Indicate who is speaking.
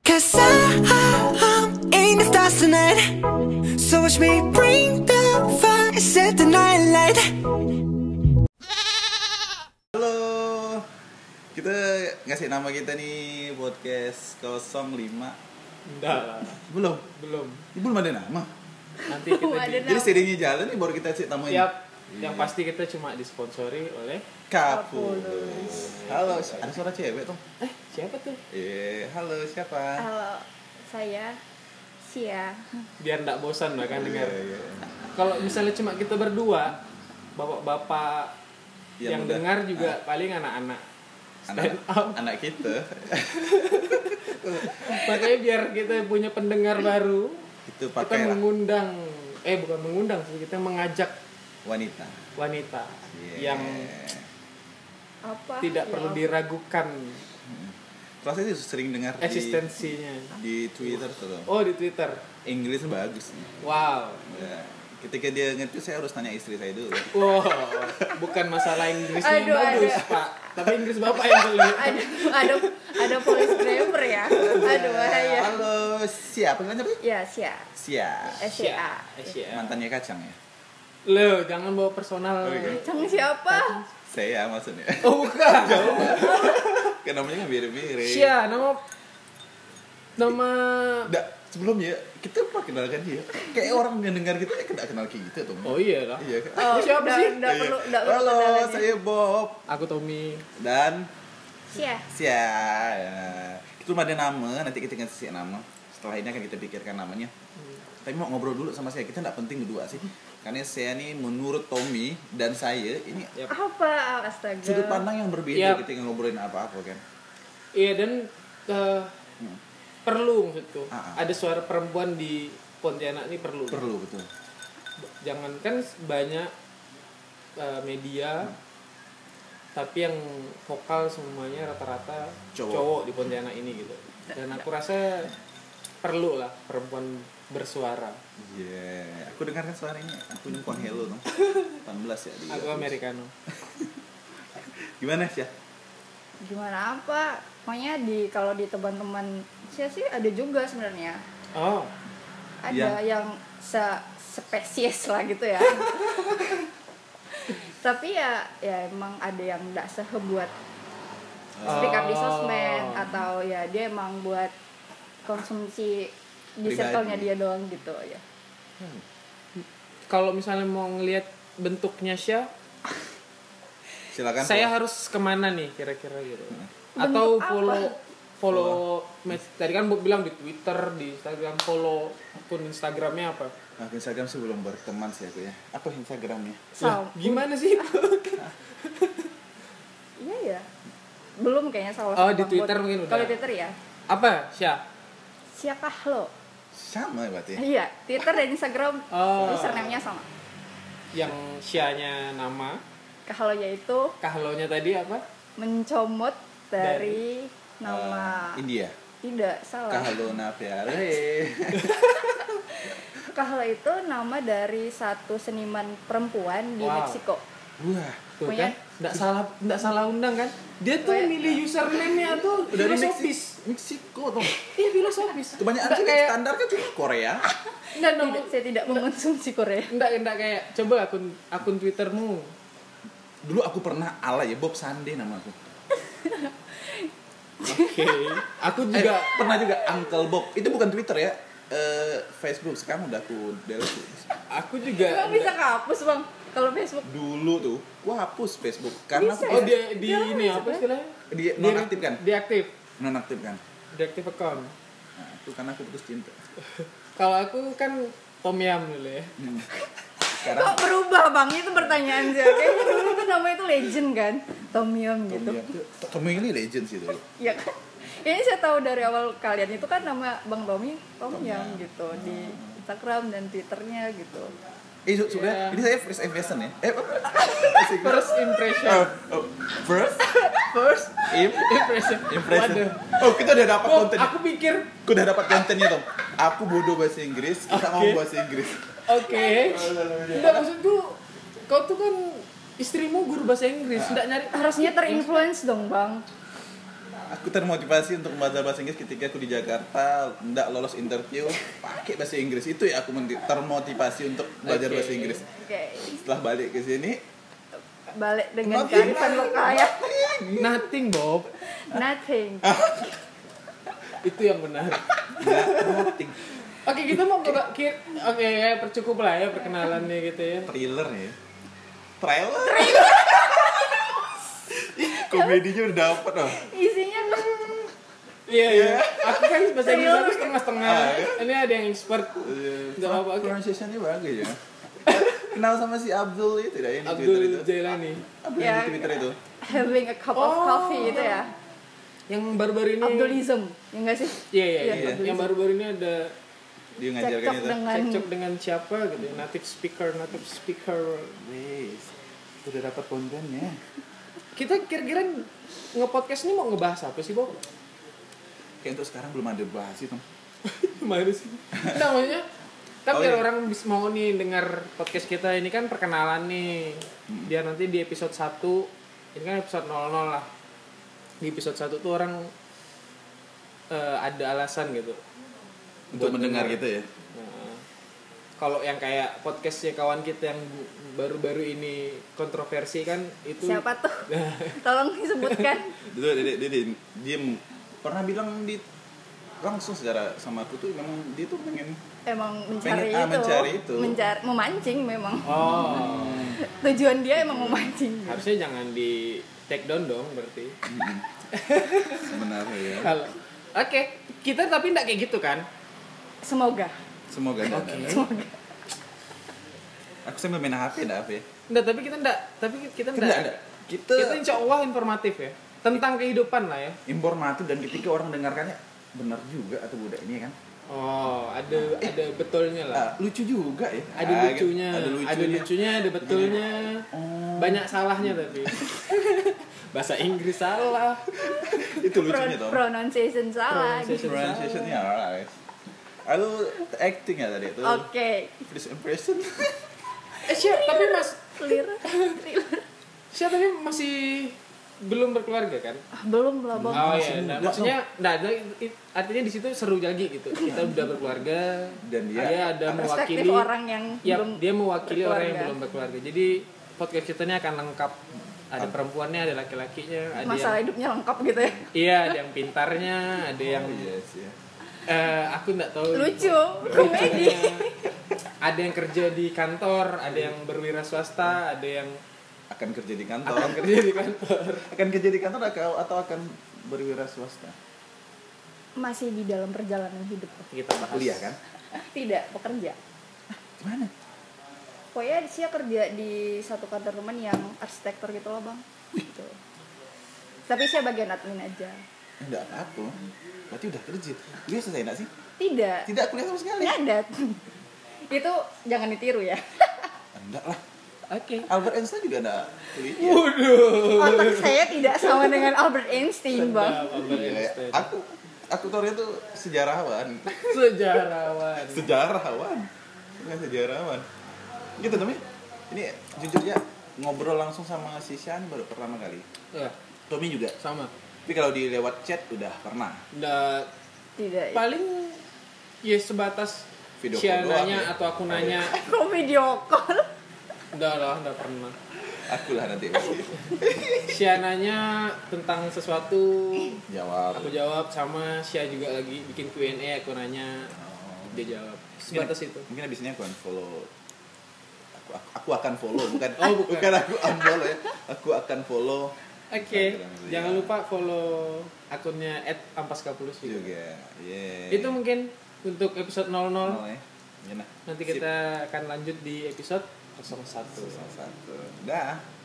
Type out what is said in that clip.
Speaker 1: Cause I, I, I'm in the stars tonight. So watch me bring the fire and set the night light.
Speaker 2: Halo, kita ngasih nama kita nih podcast 05
Speaker 3: Enggak lah,
Speaker 2: Belum,
Speaker 3: belum.
Speaker 2: ini belum ada nama
Speaker 3: Nanti kita di,
Speaker 2: Jadi sedihnya jalan nih baru kita kasih nama ini
Speaker 3: tiap yang pasti kita cuma disponsori oleh
Speaker 2: Kapulus Halo, ada suara cewek tuh
Speaker 3: eh siapa tuh?
Speaker 2: Eh, halo siapa?
Speaker 4: Halo, saya Sia.
Speaker 3: Biar ndak bosan lah kan dengar.
Speaker 2: Iya, iya.
Speaker 3: Kalau misalnya cuma kita berdua, bapak-bapak
Speaker 2: Yang
Speaker 3: yang,
Speaker 2: udah- ah.
Speaker 3: dengar juga paling anak-anak.
Speaker 2: Anak,
Speaker 3: Stand up.
Speaker 2: anak kita
Speaker 3: Makanya biar kita punya pendengar baru,
Speaker 2: Itu
Speaker 3: kita
Speaker 2: pakai
Speaker 3: mengundang eh bukan mengundang sih, kita mengajak
Speaker 2: wanita
Speaker 3: wanita
Speaker 2: Iya.
Speaker 3: yang
Speaker 4: Apa?
Speaker 3: tidak perlu
Speaker 4: Ya,
Speaker 3: diragukan
Speaker 2: Rasanya sih sering dengar di,
Speaker 3: eksistensinya.
Speaker 2: di Twitter tuh
Speaker 3: Oh di Twitter.
Speaker 2: Inggris bagus nih.
Speaker 3: Wow.
Speaker 2: Ya. Ketika dia ngerti saya harus tanya istri saya dulu
Speaker 3: Wow, bukan masalah Inggris yang
Speaker 4: Aduh,
Speaker 3: bagus,
Speaker 4: aduh.
Speaker 3: Pak. Tapi Inggris Bapak yang jelek.
Speaker 4: Ada ada ada police driver ya. Aduh
Speaker 3: iya.
Speaker 4: bahaya.
Speaker 2: Iya. Halo, siapa namanya tadi?
Speaker 4: Ya, Sia. Eh,
Speaker 2: Siap.
Speaker 4: SCA.
Speaker 3: Asia.
Speaker 2: Mantannya kacang ya?
Speaker 3: Lo, jangan bawa personal.
Speaker 2: Oh, iya.
Speaker 4: Cang siapa?
Speaker 2: Saya maksudnya.
Speaker 3: Oh, bukan.
Speaker 2: Kan namanya kan mirip-mirip.
Speaker 3: Sia, nama nama
Speaker 2: Nggak, sebelumnya kita perkenalkan dia. Kayak orang yang dengar kita ya kena kenal kita tuh.
Speaker 3: Oh iya lah.
Speaker 2: Iya kan?
Speaker 4: Oh,
Speaker 3: Siapa
Speaker 4: nggak-
Speaker 3: sih?
Speaker 4: nggak
Speaker 2: Iya.
Speaker 4: perlu enggak perlu
Speaker 2: Halo,
Speaker 4: kenalan ya.
Speaker 2: saya Bob
Speaker 3: Aku Tommy.
Speaker 2: dan
Speaker 4: Sia.
Speaker 2: Sia. Itu belum ada nama, nanti kita kasih nama. Setelah ini akan kita pikirkan namanya. Tapi mau ngobrol dulu sama saya, kita nggak penting berdua sih. Karena saya nih menurut Tommy dan saya ini
Speaker 3: Yap.
Speaker 4: Apa? Astaga.
Speaker 2: sudut pandang yang berbeda
Speaker 3: Iya.
Speaker 2: ketika ngobrolin apa-apa kan.
Speaker 3: Iya dan eh,
Speaker 2: Hmm.
Speaker 3: perlu maksudku.
Speaker 2: Ah, ah.
Speaker 3: Ada suara perempuan di Pontianak ini perlu.
Speaker 2: Perlu betul.
Speaker 3: jangankan kan banyak eh, media tapi yang vokal semuanya rata-rata
Speaker 2: Cowok.
Speaker 3: cowok. di Pontianak ini gitu dan aku rasa perlu lah perempuan bersuara
Speaker 2: Iya, aku dengarkan suaranya. Aku nyumpang hello dong. 18 ya dia.
Speaker 3: aku Americano
Speaker 2: Gimana sih?
Speaker 4: Gimana apa? Pokoknya di kalau di teman-teman Sia sih ada juga sebenarnya.
Speaker 3: oh
Speaker 2: Iya.
Speaker 4: ada yang se spesies lah gitu ya tapi ya ya emang ada yang nggak sehebuat speak up di sosmed
Speaker 3: Oh.
Speaker 4: atau ya dia emang buat konsumsi di
Speaker 2: Pribadi.
Speaker 4: circle-nya dia doang gitu ya
Speaker 3: kalau misalnya mau ngelihat bentuknya Syah
Speaker 2: Silakan.
Speaker 3: saya
Speaker 2: Pak.
Speaker 3: harus kemana nih kira-kira gitu atau
Speaker 4: apa?
Speaker 3: follow follow mes- tadi kan Bob bilang di Twitter di Instagram follow akun Instagramnya apa
Speaker 2: Nah, Instagram sih belum berteman sih aku ya. Apa Instagramnya?
Speaker 3: Lah,
Speaker 4: Sam-
Speaker 3: gimana sih itu?
Speaker 4: iya ya belum kayaknya salah
Speaker 3: Oh,
Speaker 4: satu
Speaker 3: di
Speaker 4: bang
Speaker 3: Twitter
Speaker 4: buat-
Speaker 3: mungkin udah.
Speaker 4: kalau di Twitter ya
Speaker 3: apa Syah
Speaker 4: siapa lo
Speaker 2: Sama ya berarti.
Speaker 4: iya Twitter dan Instagram
Speaker 3: Oh.
Speaker 4: username-nya sama
Speaker 3: yang Syahnya nama
Speaker 4: kalau yaitu
Speaker 3: kahlonya tadi apa
Speaker 4: mencomot dari, nama
Speaker 2: Eh, India. Eh,
Speaker 4: tidak salah
Speaker 2: Kahalona Fiare.
Speaker 4: Kahlo itu nama dari satu seniman perempuan di
Speaker 3: Wow.
Speaker 4: Meksiko.
Speaker 2: Wah,
Speaker 3: tuh kan
Speaker 4: Punya.
Speaker 3: nggak salah nggak salah undang kan dia tuh
Speaker 4: Punya.
Speaker 3: milih username nya tuh
Speaker 2: dari
Speaker 3: filosofis
Speaker 2: Meksi- Meksiko tuh.
Speaker 3: iya filosofis
Speaker 2: Kebanyakan
Speaker 3: Nggak
Speaker 2: sih
Speaker 3: kayak
Speaker 2: standar kan cuma Korea.
Speaker 4: Dan tidak, saya tidak mengonsumsi Korea.
Speaker 3: nggak nggak kayak coba akun akun twittermu
Speaker 2: Dulu aku pernah ala ya Bob Sande nama aku.
Speaker 3: oke aku
Speaker 2: Eh,
Speaker 3: juga
Speaker 2: pernah juga Uncle Bob. Itu bukan Twitter ya. Eh, Facebook sekarang udah aku delete.
Speaker 3: aku juga
Speaker 4: Emang bisa kehapus bang? Kalau Facebook
Speaker 2: dulu tuh gua hapus Facebook karena
Speaker 4: Bisa
Speaker 2: aku
Speaker 3: oh dia di ini apa
Speaker 4: sebenarnya.
Speaker 3: istilahnya
Speaker 2: dia nonaktifkan
Speaker 3: diaktif
Speaker 2: nonaktifkan
Speaker 3: diaktif account
Speaker 2: nah, itu karena aku putus cinta
Speaker 3: kalau aku kan Tom Yam dulu ya
Speaker 2: Hmm.
Speaker 4: kok
Speaker 2: sekarang
Speaker 4: berubah bang? Itu pertanyaan saya. Kayaknya dulu tuh nama itu legend kan, Tom Yum gitu.
Speaker 2: Tommy itu Tommy ini legend sih dulu
Speaker 4: Ya kan? Ini saya tahu dari awal kalian itu kan nama Bang Tommy Tom
Speaker 2: Tom
Speaker 4: Yum
Speaker 2: Yum.
Speaker 4: gitu di Instagram dan Twitternya gitu.
Speaker 2: eh su- sudah
Speaker 3: Iya.
Speaker 2: ini saya first impression ya eh apa?
Speaker 3: first
Speaker 2: Oh,
Speaker 3: impression
Speaker 2: oh, first
Speaker 3: first
Speaker 2: im-
Speaker 3: impression
Speaker 2: impression
Speaker 3: Waduh.
Speaker 2: oh kita udah dapat
Speaker 3: Kok
Speaker 2: konten
Speaker 3: aku pikir
Speaker 2: aku udah dapat kontennya Tom aku bodoh bahasa Inggris kita mau
Speaker 3: Oke.
Speaker 2: bahasa Inggris
Speaker 3: Oke. Enggak maksudku kau tuh kan istrimu guru bahasa Inggris, enggak nyari
Speaker 4: Harusnya terinfluence dong bang.
Speaker 2: Aku termotivasi untuk belajar bahasa Inggris ketika aku di Jakarta nggak lolos interview pakai bahasa Inggris itu ya aku menti- termotivasi untuk belajar
Speaker 3: Oke.
Speaker 2: bahasa Inggris.
Speaker 4: Oke.
Speaker 2: Setelah balik ke sini,
Speaker 4: Balik dengan kan,
Speaker 2: Nothing.
Speaker 4: kearifan lokalnya.
Speaker 3: Nothing Bob.
Speaker 4: Nothing.
Speaker 2: Ah.
Speaker 3: Itu yang benar. Oke, kita mau coba ki- Oke, ya, percukup lah ya perkenalannya gitu ya.
Speaker 2: thriller ya. Trailer. Ih, Komedinya udah dapet loh.
Speaker 4: Isinya
Speaker 3: Iya, iya. Aku kan bahasa Inggris aku setengah-setengah.
Speaker 2: Ah, iya.
Speaker 3: Ini ada yang expert. Nggak apa-apa, oke.
Speaker 2: Pronunciation-nya Iya. bagus ya. Kenal sama si Abdul itu ya, yang di Twitter
Speaker 3: Abdul
Speaker 2: itu.
Speaker 3: Jailani.
Speaker 2: Abdul
Speaker 4: Ya.
Speaker 2: yang di Twitter itu.
Speaker 4: having a cup of
Speaker 3: Oh.
Speaker 4: coffee gitu ya.
Speaker 3: Yang baru-baru
Speaker 2: Oh.
Speaker 3: ini
Speaker 4: Abdulism, ya enggak sih?
Speaker 3: Iya, iya,
Speaker 4: Iya,
Speaker 3: iya.
Speaker 2: Abdul
Speaker 3: Yang baru-baru ini ada
Speaker 2: Dia ngajarkan
Speaker 4: Cekcok
Speaker 2: itu.
Speaker 4: dengan
Speaker 3: cekcok dengan siapa gitu ya. Native speaker, native speaker.
Speaker 2: Wes, udah dapat kontennya.
Speaker 3: Kita kira-kira nge-podcast ini mau ngebahas apa sih, Bob?
Speaker 2: Kayak untuk sekarang belum ada bahas itu.
Speaker 3: Gimana sih? Nah, maksudnya kan
Speaker 2: Oh,
Speaker 3: biar
Speaker 2: iya.
Speaker 3: orang bis- mau nih dengar podcast kita ini kan perkenalan nih.
Speaker 2: Hmm.
Speaker 3: Biar nanti di episode 1 ini kan episode 00 lah. Di episode 1 tuh orang eh, ada alasan gitu.
Speaker 2: Untuk
Speaker 3: Buat
Speaker 2: mendengar
Speaker 3: dengar.
Speaker 2: gitu ya.
Speaker 3: Nah, kalau yang kayak podcastnya kawan kita yang bu- baru-baru ini kontroversi kan itu
Speaker 4: siapa tuh? Tolong disebutkan.
Speaker 2: Itu dia, dia, dia, dia m- pernah bilang di langsung secara sama aku tuh memang dia tuh pengen
Speaker 4: Emang mencari
Speaker 2: Pengen- ah,
Speaker 4: itu.
Speaker 2: mencari itu.
Speaker 4: Mencari, memancing memang.
Speaker 3: Oh,
Speaker 2: Hmm.
Speaker 4: Tujuan dia emang memancing.
Speaker 3: harusnya jangan di take down dong berarti.
Speaker 2: Hmm. sebenarnya ya.
Speaker 3: Kalau Oke, kita tapi nggak kayak gitu kan?
Speaker 4: Semoga.
Speaker 2: Semoga enggak
Speaker 3: Oke.
Speaker 2: ada. Aku sambil main HP enggak HP.
Speaker 3: Nggak, tapi kita nggak, tapi kita
Speaker 2: Kan
Speaker 3: nggak.
Speaker 2: enggak ada. Kita
Speaker 3: Kita insya Allah informatif ya tentang kehidupan lah ya.
Speaker 2: informatif dan ketika orang mendengarkannya benar juga atau budak ini kan.
Speaker 3: Oh, ada ada betulnya lah.
Speaker 2: Ah, lucu juga ya. Ah,
Speaker 3: Ada
Speaker 2: gitu.
Speaker 3: lucunya,
Speaker 2: Ada
Speaker 3: ada
Speaker 2: lucunya. Oh.
Speaker 3: lucunya, ada betulnya. Banyak salahnya tapi. Bahasa Inggris salah.
Speaker 2: Itu lucunya tuh.
Speaker 4: Pro- pronunciation salah.
Speaker 3: Pronunciation.
Speaker 4: gitu.
Speaker 2: Pronunciation-nya alright. Lalu acting ya tadi itu.
Speaker 4: Oke,
Speaker 2: First impression.
Speaker 3: Eh, Syah, tapi Mas,
Speaker 4: clear. Clear.
Speaker 3: Syah tapi masih belum berkeluarga kan?
Speaker 4: Ah, Belum lah, Bang.
Speaker 3: Oh
Speaker 2: masih
Speaker 3: iya, nah,
Speaker 2: muda,
Speaker 3: maksudnya nah, ada- i- artinya di situ seru lagi gitu. Kita udah berkeluarga
Speaker 2: Dan dia-
Speaker 3: ada
Speaker 4: Perspektif
Speaker 3: mewakili
Speaker 4: orang yang
Speaker 3: ya,
Speaker 4: belum
Speaker 3: dia mewakili orang yang
Speaker 4: berkeluarga.
Speaker 3: belum berkeluarga. Jadi podcast kita ini akan lengkap. Ada
Speaker 2: Ah.
Speaker 3: perempuannya, ada laki-lakinya, ada
Speaker 4: masalah
Speaker 3: yang
Speaker 4: hidupnya lengkap gitu ya.
Speaker 3: iya, ada yang pintarnya, ada yang
Speaker 2: yes, ya.
Speaker 3: eh, aku nggak tahu.
Speaker 4: Lucu, komedi.
Speaker 3: ada yang kerja di kantor, ada yang berwira swasta, ada yang
Speaker 2: Akan kerja di kantor.
Speaker 3: akan kerja di kantor.
Speaker 2: akan kerja di kantor atau atau akan berwira swasta?
Speaker 4: Masih di dalam perjalanan hidup.
Speaker 3: Kita bahas.
Speaker 2: Kuliah kan?
Speaker 4: Ah, Tidak, pekerja.
Speaker 2: Mana?
Speaker 4: Pokoknya dia kerja di satu kantor teman yang arsitektur gitu loh bang. Gitu. Tapi saya bagian admin aja.
Speaker 2: Enggak apa-apa. Berarti udah kerja. Kuliah selesai enggak sih?
Speaker 4: Tidak.
Speaker 2: Tidak kuliah sama sekali.
Speaker 3: Nah.
Speaker 4: Ngadat. Itu jangan ditiru ya.
Speaker 2: Enggak lah.
Speaker 3: Oke.
Speaker 2: Albert Einstein juga enggak kuliah. Iya,
Speaker 4: Otak saya tidak sama dengan Albert Einstein bang.
Speaker 2: Gila ya. Aku aku tuh orangnya tuh sejarawan.
Speaker 3: Sejarawan.
Speaker 2: Sejarawan. Bukan sejarawan. Gitu tapi ini jujur ya ngobrol langsung sama si Shani baru pertama kali.
Speaker 3: Ya,
Speaker 2: Tommy juga.
Speaker 3: sama.
Speaker 2: Tapi kalau di lewat chat udah pernah.
Speaker 3: Nggak,
Speaker 4: Tidak.
Speaker 3: paling ya sebatas
Speaker 2: Video
Speaker 3: Sia
Speaker 2: call doang
Speaker 3: nanya
Speaker 2: ya?
Speaker 3: atau aku nanya.
Speaker 4: Kok video call?
Speaker 3: Udah lah, nggak pernah.
Speaker 2: Aku lah nanti pasti
Speaker 3: Sia nanya tentang sesuatu,
Speaker 2: jawab.
Speaker 3: aku jawab sama Sia juga lagi bikin Q&A aku nanya, dia jawab. Sebatas itu.
Speaker 2: Mungkin abis ini aku unfollow. Aku, aku, aku akan follow bukan
Speaker 3: Oh, bukan.
Speaker 2: aku unfollow ya. Aku akan follow
Speaker 3: Oke, iya.
Speaker 2: Instagram dia.
Speaker 3: jangan lupa follow akunnya @ampaskapulus juga.
Speaker 2: juga. Yeay.
Speaker 3: Itu mungkin untuk episode 00.
Speaker 2: Nol ya. Iya, nah.
Speaker 3: Nanti
Speaker 2: Sip.
Speaker 3: kita akan lanjut di episode 01.
Speaker 2: satu. Dah.